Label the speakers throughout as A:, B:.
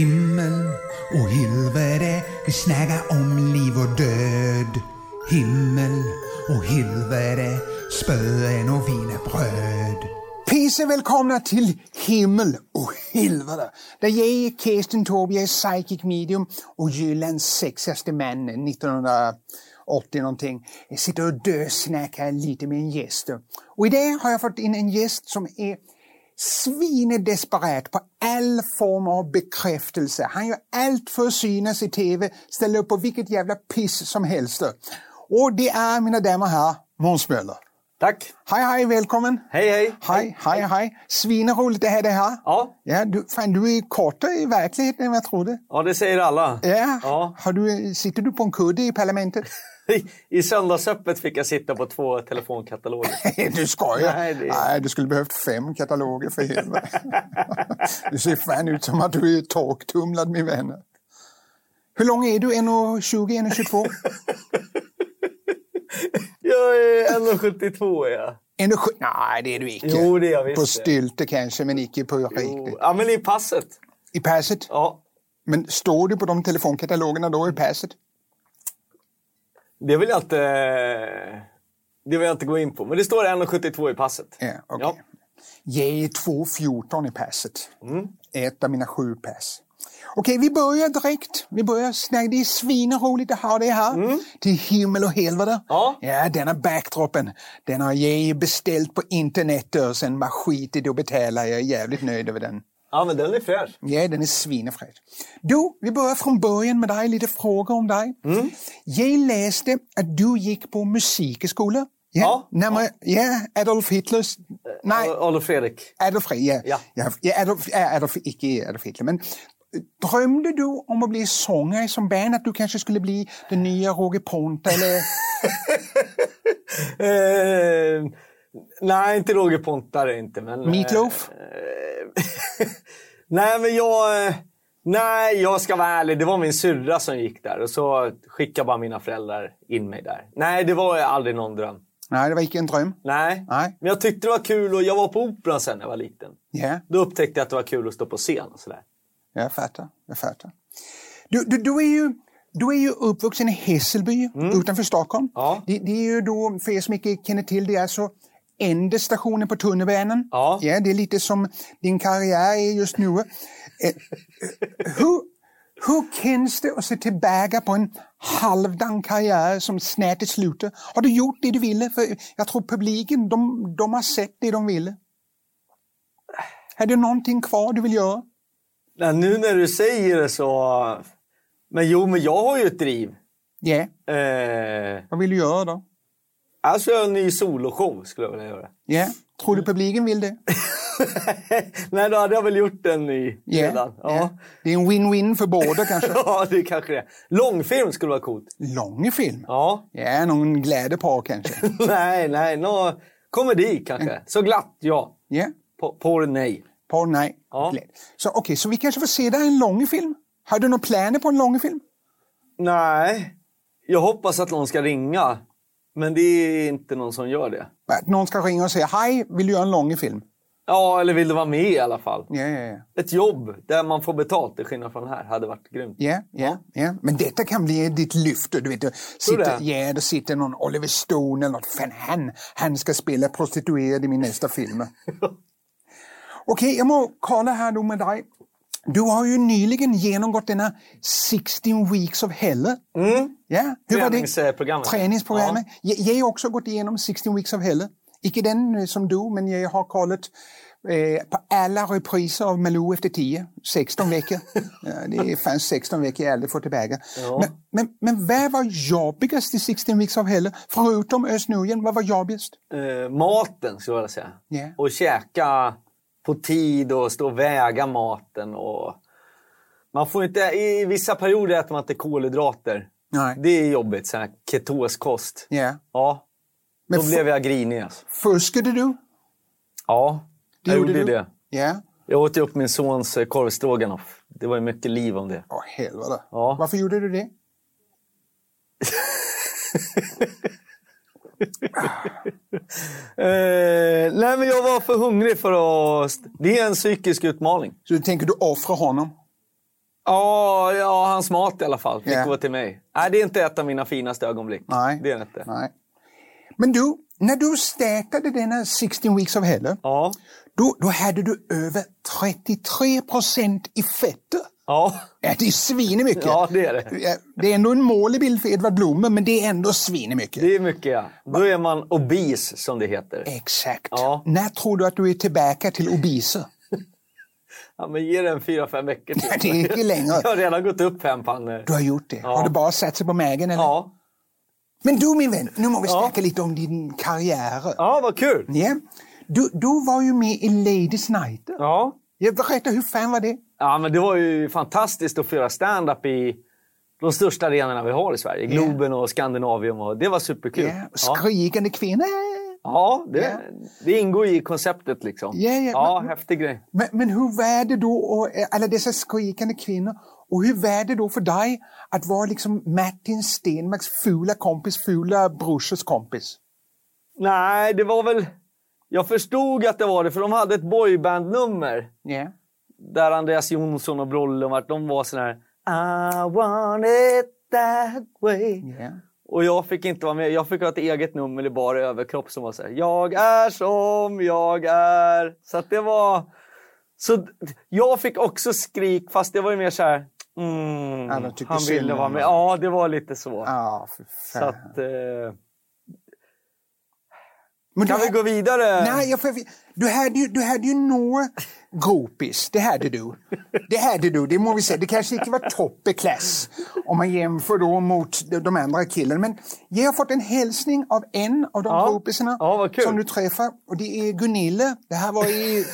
A: Himmel och helvete, vi snäga om liv och död. Himmel och helvete, spöen och vinerbröd.
B: Peace och välkomna till Himmel och helvete. Där jag, Kirsten Taube, jag är psychic medium och Jyllands sexigaste man 1980 någonting. Jag sitter och dösnackar lite med en gäst. Och idag har jag fått in en gäst som är svinedesperat på all form av bekräftelse. Han gör allt för att synas i TV, ställer upp på vilket jävla piss som helst. Och det är, mina damer och herrar, Måns Möller.
C: Tack!
B: Hej, hej, välkommen!
C: Hej, hej!
B: Hej, hej, hej! Svinroligt att ha dig här.
C: Ja,
B: Ja, du, fan, du är kortare i verkligheten än vad jag trodde.
C: ja det säger alla.
B: Ja.
C: Ja.
B: Har du, sitter du på en kudde i parlamentet?
C: I, I söndagsöppet fick jag sitta på två telefonkataloger.
B: du skojar?
C: Nej, det-
B: Nej, du skulle behövt fem kataloger för helvete. du ser fan ut som att du är torktumlad, min vän. Hur lång är du? 1,20? 1,22?
C: Jag är 1,72 är jag.
B: 1,7? Nej, det är du icke.
C: Jo, det är jag visst.
B: på stylte kanske, men icke på riktigt.
C: Jo. Ja, men i passet.
B: I passet?
C: Ja.
B: Men står du på de telefonkatalogerna då i passet?
C: Det vill jag inte... Det vill jag inte gå in på. Men det står 1,72 i passet.
B: Ja, okej.
C: Ja.
B: Jag är 2.14 i passet.
C: Mm.
B: Ett av mina sju pass. Okej, vi börjar direkt. Vi börjar snacka. Det är svinroligt att ha dig här. Till himmel och helvete.
C: Mm. Ja.
B: ja, denna backdropen. Den har jag beställt på internet och sen bara skitit och betala. Jag är jävligt nöjd över den.
C: Ja, men den är fräsch.
B: Ja, den är svinefräsch. Du, vi börjar från början med dig, lite frågor om dig.
C: Mm.
B: Jag läste att du gick på musikskola.
C: Ja. Eh,
B: Närmare, ja, Adolf Hitlers... Nej,
C: Ad- Adolf Fredrik.
B: Adolf Fredrik, ja.
C: Ja.
B: ja. ja Adolf, ja, Adolf, icke Adolf Hitler, men drömde du om att bli sångare som barn? Att du kanske skulle bli den nya Roger Ponta eller...
C: Eh, nej, inte Roger Pontare inte. Men,
B: Meatloaf?
C: Eh, nej, men jag... eh, Nej, jag ska vara ärlig. Det var min syrra som gick där och så skickade bara mina föräldrar in mig där. Nej, det var aldrig någon dröm.
B: Nej, det var icke en dröm.
C: Nej.
B: Nej.
C: Men jag tyckte det var kul och jag var på operan sen när jag var liten.
B: Ja,
C: Då upptäckte jag att det var kul att stå på scen och sådär.
B: jag fattar. Jag fattar. Du, du, du är ju... Du är ju uppvuxen i Hässelby utanför Stockholm.
C: Mm. Ja.
B: Det, det är ju då, för er som inte känner till det, är så enda stationen på tunnelbanan.
C: Ja.
B: ja. Det är lite som din karriär är just nu. Eh, hur, hur känns det att se tillbaka på en halvdan karriär som snart är slutet? Har du gjort det du ville? För jag tror publiken, de, de har sett det de ville. Är det någonting kvar du vill göra?
C: Nej, nu när du säger det så... Men jo, men jag har ju ett driv.
B: Ja,
C: Eh,
B: vad vill du göra då?
C: alltså jag har en ny soloshow skulle jag vilja göra.
B: Ja, tror du publiken vill det?
C: Nej, då hade jag väl gjort en ny
B: Ja,
C: redan. Ja.
B: ja. Det är en win-win för båda kanske.
C: ja, det är kanske det. Långfilm skulle vara coolt.
B: Lång film.
C: Ja.
B: Ja, någon glädjepar kanske.
C: nej, nej. Nå, komedi kanske. Så glatt, ja.
B: Ja,
C: På, på nej.
B: par nej.
C: Ja.
B: Glädje. Så okej, så vi kanske får se dig i en lång film? Har du några planer på en lång film?
C: Nej. Jag hoppas att någon ska ringa. Men det är inte någon som gör det.
B: Att någon ska ringa och säga hej, vill du göra en lång film?
C: Ja, eller vill du vara med i alla fall.
B: Ja, ja, ja.
C: Ett jobb där man får betalt, till skillnad från här, hade varit grymt.
B: Ja, ja, ja. Men detta kan bli ditt lyfte. Du vet, det sitter,
C: det?
B: ja, det sitter någon Oliver Stone eller något. Fan, han, han ska spela prostituerad i min nästa film. Okej, jag må kolla här då med dig. Du har ju nyligen genomgått denna 16 weeks of hell.
C: Mm.
B: Ja, hur var det?
C: Träningsprogrammet.
B: Träningsprogrammet. Jag, jag har också gått igenom 16 Weeks of Hell. Icke den eh, som du, men jag har kollat eh, på alla repriser av Malou efter 10. 16 veckor. ja, det fanns 16 veckor jag aldrig får tillbaka.
C: Ja.
B: Men, men, men vad var jobbigast i 16 Weeks of Hell? Förutom Özz Nujen, vad var jobbigast?
C: eh, maten, skulle jag vilja säga.
B: Ja.
C: Och käka på tid och stå och väga maten. Och... Man får inte, I vissa perioder äter man inte kolhydrater.
B: Nej.
C: Det är jobbigt, sån här ketoskost.
B: Ja.
C: Ja,
B: Men
C: då
B: f-
C: blev jag grinig. Alltså.
B: fuskade du?
C: Ja,
B: Det
C: jag
B: gjorde
C: gjorde
B: du?
C: det.
B: Ja.
C: Jag åt ju upp min sons eh, korvstroganoff. Det var ju mycket liv om det.
B: Åh, helvete.
C: Ja.
B: Varför gjorde du det?
C: Eh, nej, men jag var för hungrig för att... Det är en psykisk utmaning.
B: Så du tänker du offra honom?
C: Ja, ja, hans mat i alla fall fick
B: Ja.
C: gå till mig. Nej, det är inte ett av mina finaste ögonblick.
B: Nej.
C: Det är det inte.
B: Nej. Men du, när du startade denna 16 weeks of hell,
C: Ja.
B: då, då hade du över 33 procent i fetter.
C: Ja.
B: Ja, det är svinemycket.
C: ja, det är det.
B: Ja, Det är ändå en målig bild för Edvard Blom, men det är ändå svinemycket.
C: Det är mycket, ja. Då är man obese, som det heter.
B: Exakt.
C: Ja.
B: När tror du att du är tillbaka till obeser?
C: Ja, men ge den fyra, fem veckor till.
B: Det är inte längre.
C: Jag har redan gått upp fem pannor.
B: Du har gjort det.
C: Ja.
B: Har du bara satt sig på magen? Eller?
C: Ja.
B: Men du min vän, nu må vi
C: Ja.
B: snacka lite om din karriär. Ja.
C: ja, vad kul.
B: Du, du var ju med i Ladies Night.
C: Ja.
B: Jag berättar, hur fan var det?
C: ja, men det var ju fantastiskt att få göra stand-up i de största arenorna vi har i Sverige. Globen och Skandinavium. Och det var superkul.
B: Ja. Skrikande kvinna.
C: Ja, det,
B: Ja.
C: det ingår ju i konceptet liksom.
B: Ja, ja,
C: ja
B: men-
C: häftig grej.
B: Men, men hur var det då, och, eh, alla dessa skrikande kvinnor, och hur var det då för dig att vara liksom Martin Stenmarks fula kompis, fula brorsors kompis?
C: Nej, det var väl... Jag förstod att det var det, för de hade ett boybandnummer
B: Ja.
C: där Andreas Jonsson och Brolle var, de var sån här... I want it that way.
B: Ja.
C: Och jag fick inte vara med. Jag fick ha ett eget nummer i bara överkropp som var så här. Jag är som jag är. Så att det var... Så d- jag fick också skrik, fast det var ju mer så här... Mm,
B: Ja, de tyckte
C: han
B: synd
C: ville
B: om
C: vara med.
B: honom.
C: Ja, det var lite så.
B: Ja, för
C: så
B: fan.
C: att, eh,
B: Men
C: kan
B: du-
C: vi gå vidare?
B: Nej, jag får, du, hade ju, du hade ju några gropis, det hade du. Det hade du, det må vi säga. Det kanske inte var topp i klass om man jämför då mot de- de andra killarna. Men jag har fått en hälsning av en av de
C: Ja.
B: gropisarna
C: Ja, vad kul.
B: som du träffar. Och det är Gunilla. Det här var i,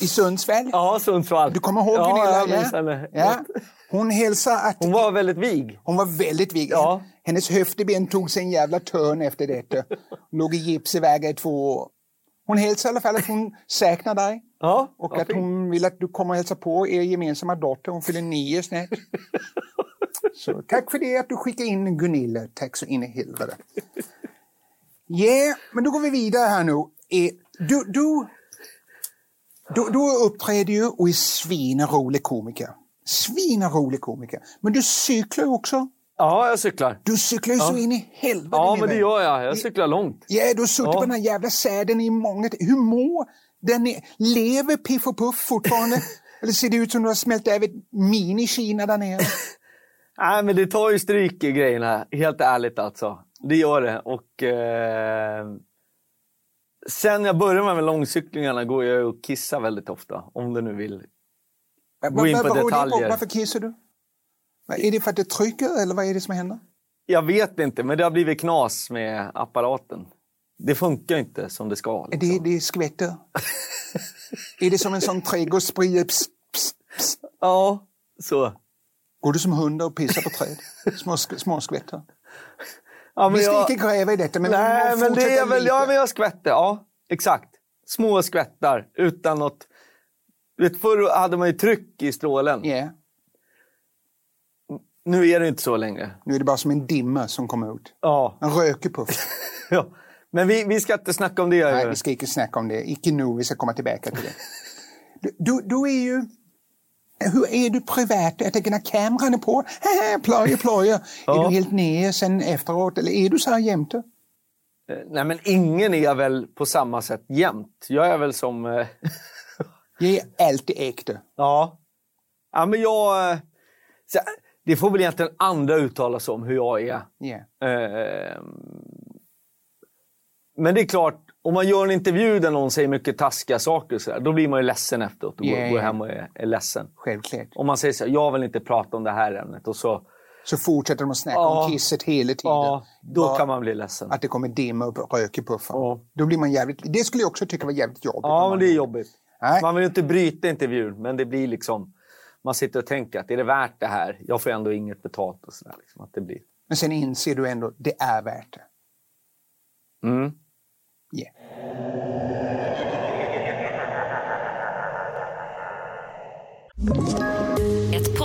B: i Sundsvall.
C: Ja, Sundsvall.
B: Du kommer ihåg
C: ja,
B: Gunilla?
C: Jag minns henne.
B: ja. Hon hälsar att
C: Hon var väldigt vig.
B: hon var väldigt vig.
C: Ja.
B: Hennes höftben tog sig en jävla törn efter detta. Låg i gips i vägar i två år. Hon hälsar i alla fall att hon säkrar dig.
C: Ja,
B: Och
C: vad
B: att
C: fint.
B: hon vill att du kommer och hälsar på er gemensamma dotter. Hon fyller nio snart. Så tack för det att du skickar in Gunilla. Tack så in i helvete. Yeah, men då går vi vidare här nu. Eh, Du, du, du, du uppträder ju och är svinrolig komiker. Svinrolig komiker. Men du cyklar ju också.
C: Ja, jag cyklar.
B: Du cyklar ju så in i helvete.
C: Ja,
B: min
C: men det
B: vän.
C: gör jag. Jag cyklar långt.
B: Ja, du har suttit
C: Ja.
B: på den här jävla säden i många... Hur mår den? är- Lever Piff och Puff fortfarande? Eller ser det ut som du har smält över ett mini-Kina där nere?
C: Nej, men det tar ju stryk i grejerna, helt ärligt alltså. Det gör det. Och, eh, sen jag började med långcyklingarna går jag och kissar väldigt ofta, om du nu vill. Gå in på
B: Vad- vad beror det
C: detaljer.
B: Varför kissar du? Vad- Är det för att det trycker eller vad är det som händer?
C: Jag vet inte, men det har blivit knas med apparaten. Det funkar inte som det ska.
B: Är
C: Liksom.
B: det, det skvätter? är det som en sån trädgårdsspray? Psst, psst, psst.
C: Ja, så.
B: Går du som hundar och pissar på träd? Små, sk- små skvätter.
C: Ja, men
B: Vi ska
C: jag-
B: inte gräva i detta, men vi
C: Nej,
B: må
C: men det
B: fortsätta
C: är väl...
B: lite.
C: Ja, men jag skvätter. Ja, exakt. Små skvättar utan något... Du Vet, förr hade man ju tryck i strålen.
B: Ja,
C: Nu är det inte så längre.
B: nu är det bara som en dimma som kommer ut.
C: Ja.
B: En rökig puff.
C: ja. Men vi, vi ska inte snacka om det.
B: Nej, vi ska inte snacka om det. Icke nu, vi ska komma tillbaka till det. Du, du, du är ju... Hur är du privat? Jag tänker när kameran är på, plöje, plöje. Är
C: Ja.
B: du helt nere sen efteråt eller är du så här jämte?
C: Eh, Nej, men ingen är väl på samma sätt jämt. Jag är väl som... eh,
B: Jag är alltid äkta.
C: ja. Ja, men jag... eh, Så, det får väl egentligen andra uttala sig om hur jag är.
B: Ja.
C: Eh, Men det är klart, om man gör en intervju där någon säger mycket taskiga saker, och så där, då blir man ju ledsen efteråt och
B: Ja,
C: går, går
B: ja.
C: hem och är, är ledsen.
B: Självklart.
C: Om man säger så här, jag vill inte prata om det här ämnet och så,
B: Så fortsätter de att snacka
C: Ja.
B: om kisset hela tiden.
C: ja, då
B: Bara
C: kan man bli ledsen.
B: Att det kommer dimma upp rök i puffen.
C: Ja.
B: Då blir man jävligt... Det skulle jag också tycka var jävligt jobbigt.
C: Ja,
B: om
C: men
B: man-
C: det är jobbigt.
B: Nej.
C: Man vill ju inte bryta intervjun, men det blir liksom... Man sitter och tänker att är det värt det här? Jag får ändå inget betalt och sådär. Liksom, att det blir...
B: men sen inser du ändå, det är värt det.
C: Mm.
B: Ja.
D: Ett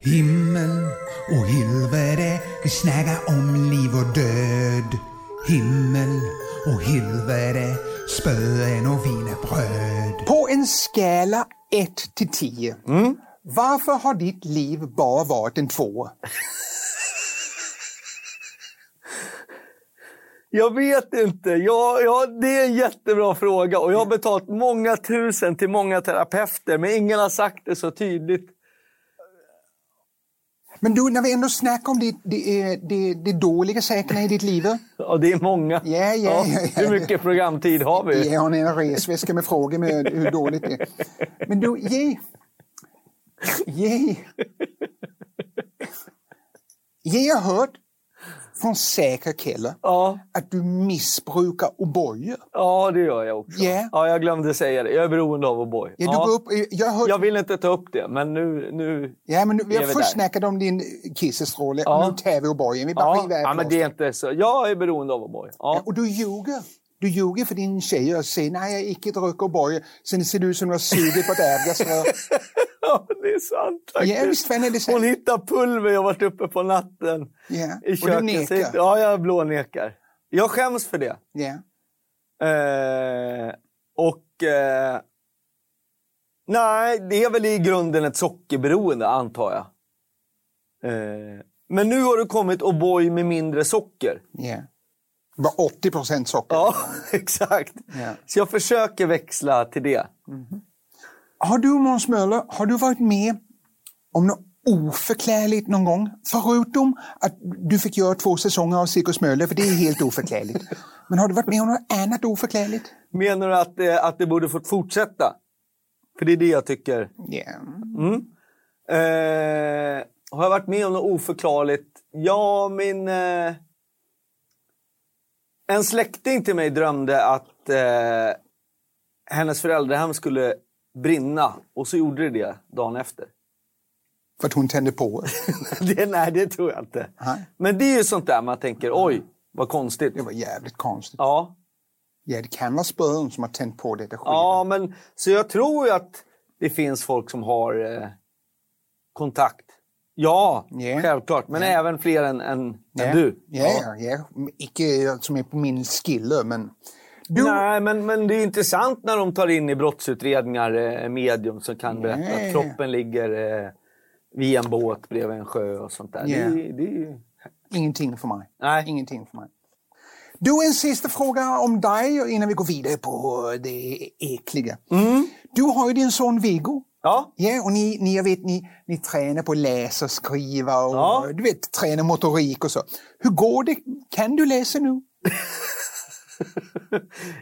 A: Himmel och helvete, vi snackar om liv och död. Himmel och helvete, spöen och wienerbröd.
B: På en skala 1 till 10. Varför har ditt liv bara varit en tvåa?
C: Jag vet inte. Jag, jag, det är en jättebra fråga och jag har betalat många tusen till många terapeuter men ingen har sagt det så tydligt.
B: Men du, när vi ändå snackar om det, det, är- det, det dåliga säkerna i ditt liv.
C: Ja, det är många.
B: Ja, ja, ja, ja, ja.
C: Hur mycket programtid har vi?
B: Ge honom en resväska med frågor med hur dåligt det är. Men du, ge... Ge... Ge jag hört från säkra källor
C: Ja,
B: att du missbrukar O'boy.
C: ja, det gör jag också.
B: Ja.
C: Ja, jag glömde säga det. Jag är beroende av O'boy.
B: Ja, du
C: Ja.
B: går upp, jag har hört,
C: Jag vill inte ta upp det, men nu... nu...
B: ja, men vi
C: är
B: har
C: vi
B: först
C: där.
B: snackat om din kissestråle,
C: Ja.
B: nu tar vi O'boyen. Vi bara
C: Ja,
B: river
C: ja,
B: av
C: men det är inte så. Jag är beroende av O'boy.
B: Ja,
C: Ja.
B: och du ljuger. Du ljuger för din tjej och säger nej, jag har icke druckit O'boy. Sen ser du ut som du har sugit på ett ävgasrör.
C: ja, det är sant faktiskt.
B: Ja, visst, Sven, är det sant?
C: Hon hittar pulver jag varit uppe på natten.
B: Ja.
C: I
B: Och du
C: köket. Så-
B: nekar.
C: Ja, jag blånekar. Jag skäms för det.
B: Ja.
C: Eh, och... Eh, nej, det är väl i grunden ett sockerberoende, antar jag. Eh, men nu har det kommit O'boy med mindre socker.
B: Ja. Det var 80 procent socker.
C: Ja, exakt.
B: Ja.
C: Så jag försöker växla till det.
B: Har du, Måns Möller, har du varit med om något oförklarligt någon gång? Förutom att du fick göra två säsonger av Cirkus Möller, för det är helt oförklarligt. Men har du varit med om något annat oförklarligt?
C: Menar du att, eh, att det borde fått fortsätta? För det är det jag tycker.
B: Ja.
C: Eh, har jag varit med om något oförklarligt? Ja, min... Eh, en släkting till mig drömde att eh, hennes föräldrahem skulle brinna och så gjorde det det dagen efter.
B: För att hon tände på.
C: det, nej, det tror jag inte.
B: Nej.
C: Men det är ju sånt där man tänker, oj, vad konstigt.
B: Det var jävligt konstigt.
C: Ja,
B: Ja, det kan vara spön som har tänt på detta skit.
C: ja men, så jag tror ju att det finns folk som har eh, kontakt. Ja,
B: Ja.
C: självklart. Men även fler än, än,
B: Ja.
C: än du.
B: Ja, ja. ja. Icke som är på min skille, men... Du,
C: Nej, men, men det är intressant när de tar in i brottsutredningar eh, medium som kan berätta
B: Nej.
C: att kroppen ligger eh, vid en båt bredvid en sjö och sånt där.
B: Ja.
C: Det, det är ju...
B: Ingenting för mig.
C: Nej.
B: Ingenting för mig. Du, en sista fråga om dig innan vi går vidare på det äckliga.
C: Mm.
B: Du har ju din son Viggo.
C: Ja,
B: Ja, och ni, ni, jag vet, ni, ni tränar på att läsa och skriva och
C: Ja.
B: du vet, tränar motorik och så. Hur går det? Kan du läsa nu?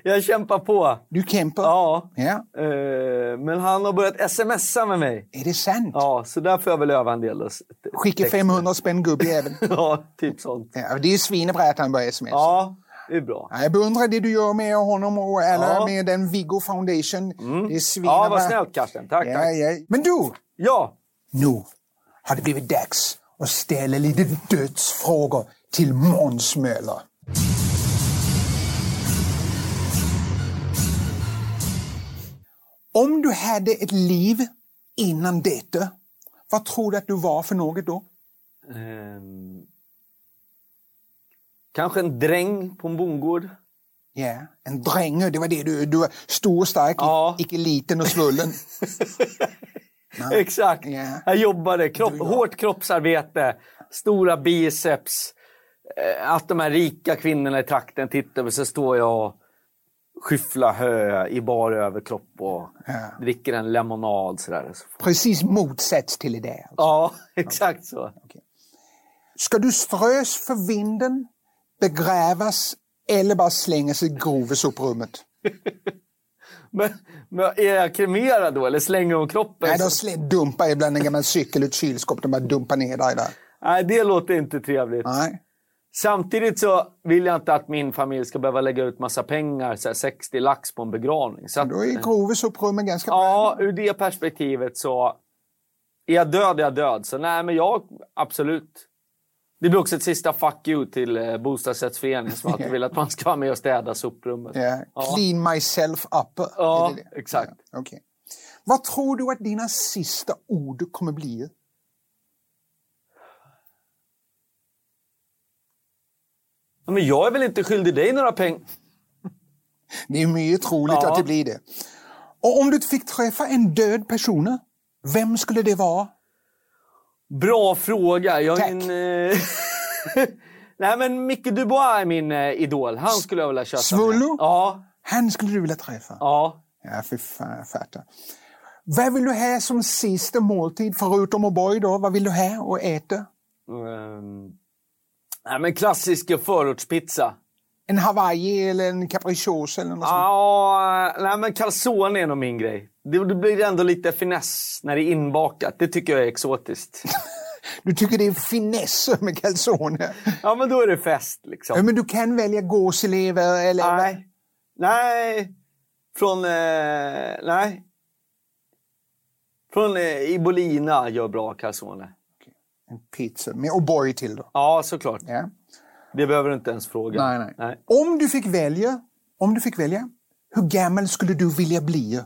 C: jag kämpar på.
B: Du kämpar?
C: Ja.
B: Ja.
C: Eh, men han har börjat smsa med mig.
B: Är det sant?
C: Ja, så där får jag väl öva en del. då.
B: Skicka 500 spänn gubbjävel.
C: Ja, typ sånt.
B: ja, det är svinebra att han börjar sms.
C: Ja, det är bra.
B: Ja, Jag beundrar det du gör med honom och alla
C: Ja. Mm.
B: med den Viggo Foundation. Det är svinebra.
C: Ja, vad snällt Karsten. Tack,
B: Ja,
C: tack.
B: ja. Men du,
C: Ja,
B: nu har det blivit dags att ställa lite dödsfrågor till Måns Möller. Om du hade ett liv innan detta, vad tror du att du var för något då?
C: Ehm, kanske en dräng på en bondgård.
B: Ja, en dränge, det var det du, du var stor och stark,
C: Ja.
B: icke liten och svullen.
C: Exakt.
B: Ja.
C: Jag jobbade. Kropp, Hårt kroppsarbete, stora biceps. Eh, Att de här rika kvinnorna i trakten tittar och så står jag och skyfflar hö i bar överkropp och
B: Ja.
C: dricker en lemonad. Sådär.
B: Precis motsats till det där.
C: Ja, exakt så.
B: Ska du strös för vinden, begrävas eller bara slängas i grovesoprummet?
C: Men, men är jag kremerad då eller slänger de kroppen?
B: Nej, de slä- dumpar ibland en gammal cykel ur ett kylskåp. De bara dumpar ner dig där.
C: Nej, det låter inte trevligt.
B: Nej.
C: Samtidigt så vill jag inte att min familj ska behöva lägga ut massa pengar, så här 60 lax på en begravning. Så att,
B: Då är Groves upprymmen ganska bra.
C: ja, ur det perspektivet så... Är jag död, är jag död. Så nej, men jag... Absolut. Det blir också ett sista fuck you till eh, bostadsrättsföreningen som alltid vill att man ska vara med och städa soprummet.
B: Ja.
C: Ja.
B: Clean myself up.
C: Ja,
B: Är det det?
C: exakt.
B: Ja, okej. Vad tror du att dina sista ord kommer bli?
C: Ja, Men jag är väl inte skyldig dig några pengar?
B: Det är mycket troligt
C: Ja.
B: att det blir det. Och om du fick träffa en död person, vem skulle det vara?
C: Bra fråga. Jag
B: Tack.
C: är en, eh, Nej, men Micke Dubois är min eh, idol. Han skulle jag vilja köta
B: Svullo?
C: med. Ja,
B: Han skulle du vilja träffa?
C: ja.
B: Ja, fy fan, jag fattar. Vad vill du ha som sista måltid, förutom O'boy då? Vad vill du ha och äta?
C: Ehm, Nej, men klassisk förortspizza.
B: En Hawaii eller en capricciosa eller något sånt?
C: Ja, nej, men calzone är nog min grej. Det, det blir ändå lite finess när det är inbakat. Det tycker jag är exotiskt.
B: Du tycker det är finesser med calzone?
C: ja, men då är det fest liksom.
B: Ja, men du kan välja gåslever eller...
C: Nej. Nej. Från... Eh, nej. Från eh, Ibolina gör bra calzone.
B: En pizza med O'boy till då.
C: Ja, såklart.
B: Ja.
C: Det behöver du inte ens fråga.
B: Nej, nej. Om du fick välja, om du fick välja, hur gammal skulle du vilja bli?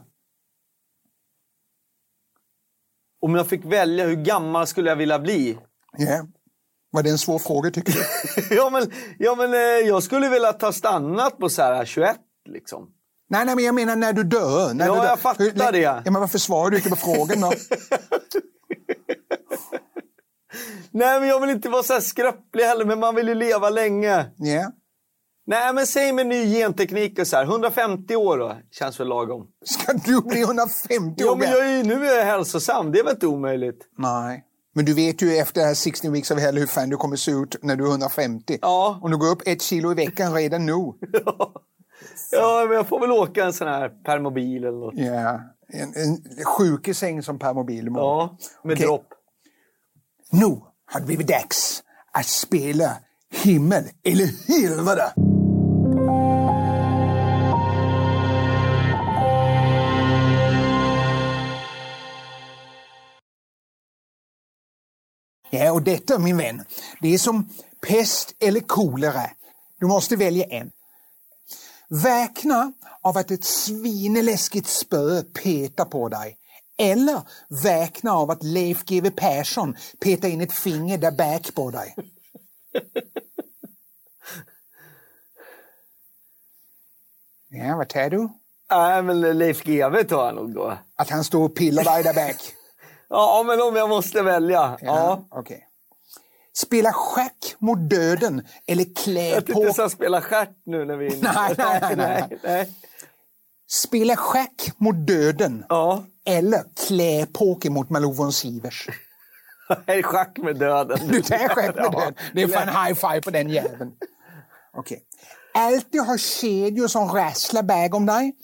C: Om jag fick välja, hur gammal skulle jag vilja bli?
B: Ja. Var det en svår fråga tycker du?
C: ja, men, ja, men eh, jag skulle vilja ta stannat på så här 21, liksom.
B: nej, nej, men jag menar när du dör. När
C: Ja,
B: du dör.
C: jag fattar
B: Hur-
C: det.
B: Ja, men varför svarar du inte på frågan då?
C: Nej, men jag vill inte vara så här skröplig heller, men man vill ju leva länge.
B: Ja.
C: Nej, men säg med ny genteknik och så här. 150 år då, känns väl lagom.
B: Ska du bli 150
C: Jo,
B: år
C: men
B: gammal?
C: jag är ju, nu är jag hälsosam. Det är väl inte omöjligt?
B: Nej. Men du vet ju efter det här 16 weeks of hell hur fan du kommer se ut när du är 150.
C: Ja.
B: Om du går upp ett kilo i veckan redan nu.
C: Ja, men jag får väl åka en sån här permobil eller något.
B: Ja. En, en sjukesäng som per mobil imorgon.
C: Ja, med
B: Okej.
C: dropp.
B: Nu har det blivit dags att spela Himmel eller helvete. Ja, och detta min vän, det är som pest eller kolera. Du måste välja en. Vakna av att ett svineläskigt spö petar på dig. Eller vakna av att Leif GW Persson petar in ett finger där bak på dig. Ja, vad tar du?
C: Nej, men Leif GW tar jag nog då.
B: Att han står och pillar dig där bak?
C: Ja, men om jag måste välja. Ja.
B: Okej. Spela schack mot döden eller klä
C: Jag tänkte
B: på...
C: så här spela stjärt nu när vi är inne.
B: Nej, nej, nej, nej.
C: nej.
B: Spela schack mot döden
C: Ja,
B: eller klä poker mot Malou von Sivers.
C: här är schack med döden.
B: Du tar schack med
C: Ja.
B: den. Det är fan high five på den jäveln. Okej. Alltid ha kedjor som rasslar bakom dig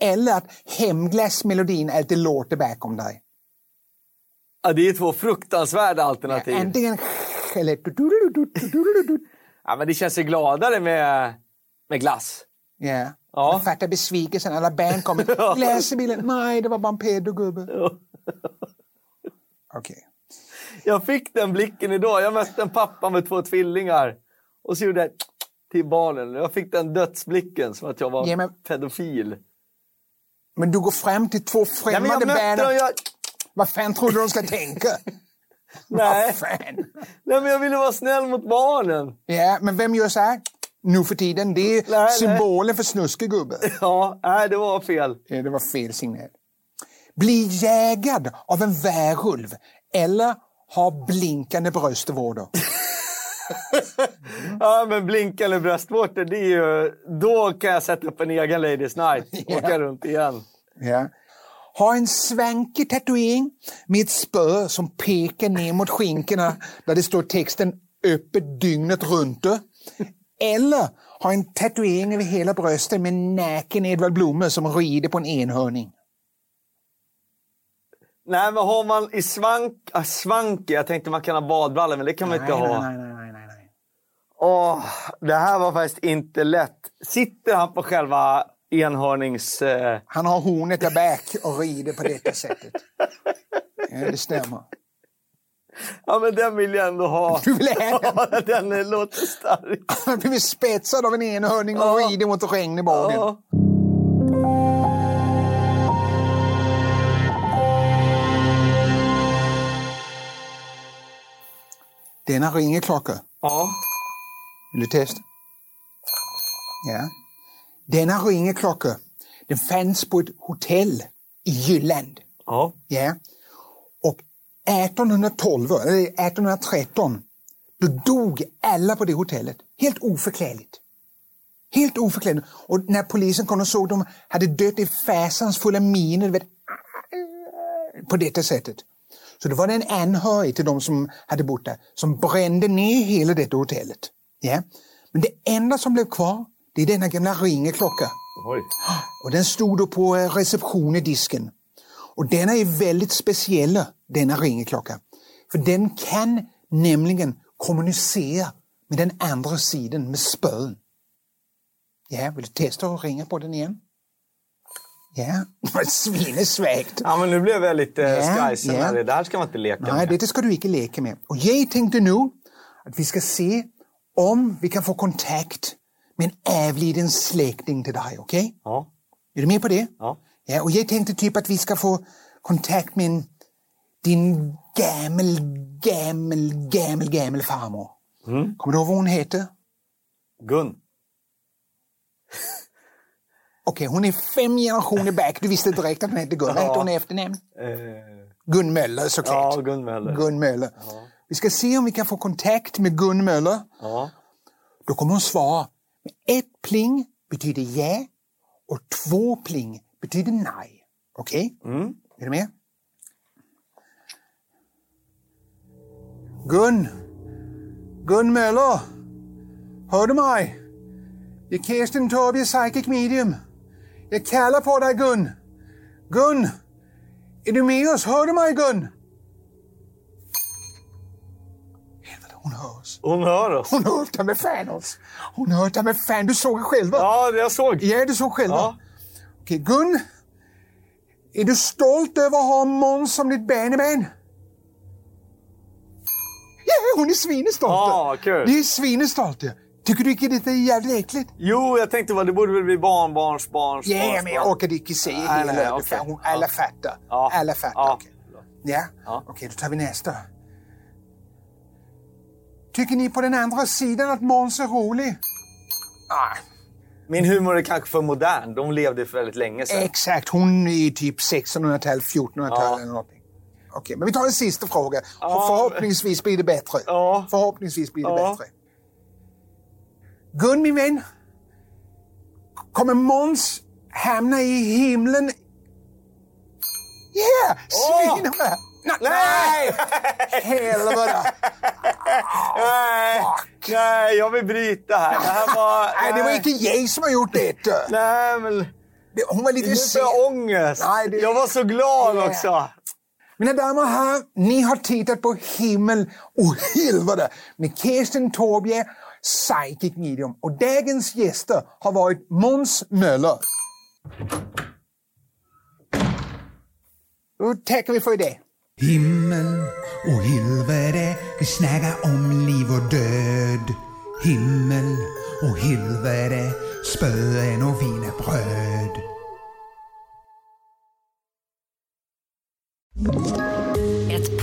B: eller att hemglassmelodin alltid låter bakom dig.
C: Ja, det är två fruktansvärda alternativ.
B: Antingen eller... du-du-du-du-du-du-du-du.
C: Ja, men det känns ju gladare med, med glass.
B: Ja.
C: Ja.
B: Jag fattar besvikelsen. Alla band kommer. Läser bilen. Nej, det var bara en pedogubbe. Okej.
C: Jag fick den blicken idag. Jag mötte en pappa med två tvillingar. Och så gjorde jag till barnen. Jag fick den dödsblicken som att jag var
B: Ja, men-
C: pedofil.
B: Men du går fram till två
C: Nej, men
B: främmande
C: jag mötte
B: band.
C: dem. Jag...
B: Vad fan tror du de ska tänka?
C: Nej.
B: Vad fan?
C: Nej, men jag ville vara snäll mot barnen.
B: Ja, men vem gör så här nu för tiden? Det är
C: nej.
B: symbolen för snuskegubbe.
C: Ja, nej, det var fel.
B: Ja, Det var fel signal. Bli jägad av en värulv eller ha blinkande bröstvårtor.
C: Ja, men blinkande bröstvårtor, det är ju... Då kan jag sätta upp en egen Ladies Night.
B: Ja.
C: Åka runt igen.
B: Ja. Ha en svankig tatuering med ett spö som pekar ner mot skinkorna där det står texten öppet dygnet runt. Eller ha en tatuering över hela bröstet med naken Edvard Blomme som rider på en enhörning.
C: Nej, men har man i äh, svank... Ah, svank, jag tänkte man kan ha badbrallor, men det kan man inte ha.
B: nej, nej, nej, nej, nej.
C: Åh, det här var faktiskt inte lätt. Sitter han på själva enhörnings... Eh,
B: Han har hornet där bak och rider på detta sättet. Ja, det stämmer.
C: ja, men den vill jag ändå ha.
B: Du vill ha den?
C: Ja, den eh, låter stark.
B: Han har blivit spetsad av en enhörning och
C: Ja.
B: rider mot regn i bågen.
C: Ja.
B: Denna ringer klocka.
C: ja.
B: Vill du testa? Ja. Denna ringer klocka. Den fanns på ett hotell i Jylland.
C: Ja.
B: Ja. Och 1812, eller 1813, då dog alla på det hotellet. Helt oförklarligt. Helt oförklarligt. Och när polisen kom och såg dem hade dött i fasansfulla miner. du Vet, på detta sättet. Så det var det en anhörig till de som hade bott där som brände ner hela detta hotellet. Ja. Men det enda som blev kvar, det är denna gamla ringeklocka.
C: Oj.
B: Och den stod då på eh, receptionen i disken. Och denna är väldigt speciell, denna ringeklocka. För den kan nämligen kommunicera med den andra sidan, med spön. Ja, vill du testa att ringa på den igen? Ja, det var svinesvägt.
C: Ja, men nu blev jag lite
B: Ja,
C: yeah, skrajsen.
B: ja.
C: här. Det här ska man inte leka
B: Nej,
C: med.
B: det ska du inte leka med. Och jag tänkte nu att vi ska se om vi kan få kontakt med en avliden släkting till dig, okej?
C: Ja.
B: Är du med på det?
C: Ja.
B: Ja, och jag tänkte typ att vi ska få kontakt med en, din gammel, gammel, gammel, gammel farmor. Kommer du ihåg vad hon heter?
C: Gun.
B: Okej, hon är fem generationer back. Du visste direkt att hon hette Gun. Vad hette hon i efternamn?
C: Eh,
B: Gun Möller såklart.
C: ja, Gun Möller.
B: Gun Möller. Vi ska se om vi kan få kontakt med Gun Möller.
C: Ja.
B: Då kommer hon svara. Men ett pling betyder ja och två pling betyder nej. Okej? Är du med? Gun. Gun Möller. Hör du mig? Det är Kirsten Torbje, psychic medium. Jag kallar på dig Gun. Gun! Är du med oss? Hör du mig Gun? Helvete, hon hör oss.
C: Hon hör oss.
B: Hon har hört det med fan oss. Hon har hört det med fan. Du såg det själva. Ja,
C: Ja, det jag såg.
B: du såg själva.
C: Ja.
B: Okej, Gun. Är du stolt över att ha Måns som ditt barnebarn? Ja, hon är svinestolt.
C: Ja, kul.
B: Det är svinestolt. ja. Tycker du inte det är jävligt äckligt?
C: Jo, jag tänkte vad det borde väl bli barnbarns, barns,
B: Ja,
C: barns,
B: men jag
C: barn.
B: orkade inte säga
C: Nej,
B: hela.
C: nej,
B: det,
C: okej.
B: för hon- Alla fattar.
C: Ja.
B: Alla fattar.
C: Ja.
B: okej. Ja,
C: Ja.
B: okej då tar vi nästa. Tycker ni på den andra sidan att Måns är rolig? Nej.
C: Min humor är kanske för modern. De levde för väldigt länge sedan.
B: Exakt, hon är ju typ 1600-tal, 1400-tal
C: Ja.
B: eller någonting. Okej, men vi tar en sista fråga.
C: Ja.
B: Förhoppningsvis blir det bättre.
C: Ja.
B: Förhoppningsvis blir det
C: Ja.
B: bättre. Gun, min vän. Kommer Måns hamna i himlen? Yeah!
C: Åh!
B: Svin! Nej! Helvete!
C: Nej, nej, jag vill bryta här. Det här var...
B: Nej, det var inte jag som har gjort det.
C: Nej, men...
B: Det- Hon var
C: Nu
B: lite
C: får
B: sen.
C: jag ångest.
B: Nej, det-
C: Jag var så glad
B: Ja.
C: också.
B: Mina damer och herrar, ni har tittat på Himmel och helvete med Kirsten Torbje, psychic medium. Och dagens gäster har varit Måns Möller. Då tackar vi för det.
A: Himmel och helvete, vi snackar om liv och död. Himmel och helvete, spöen och wienerbröd.
D: Ett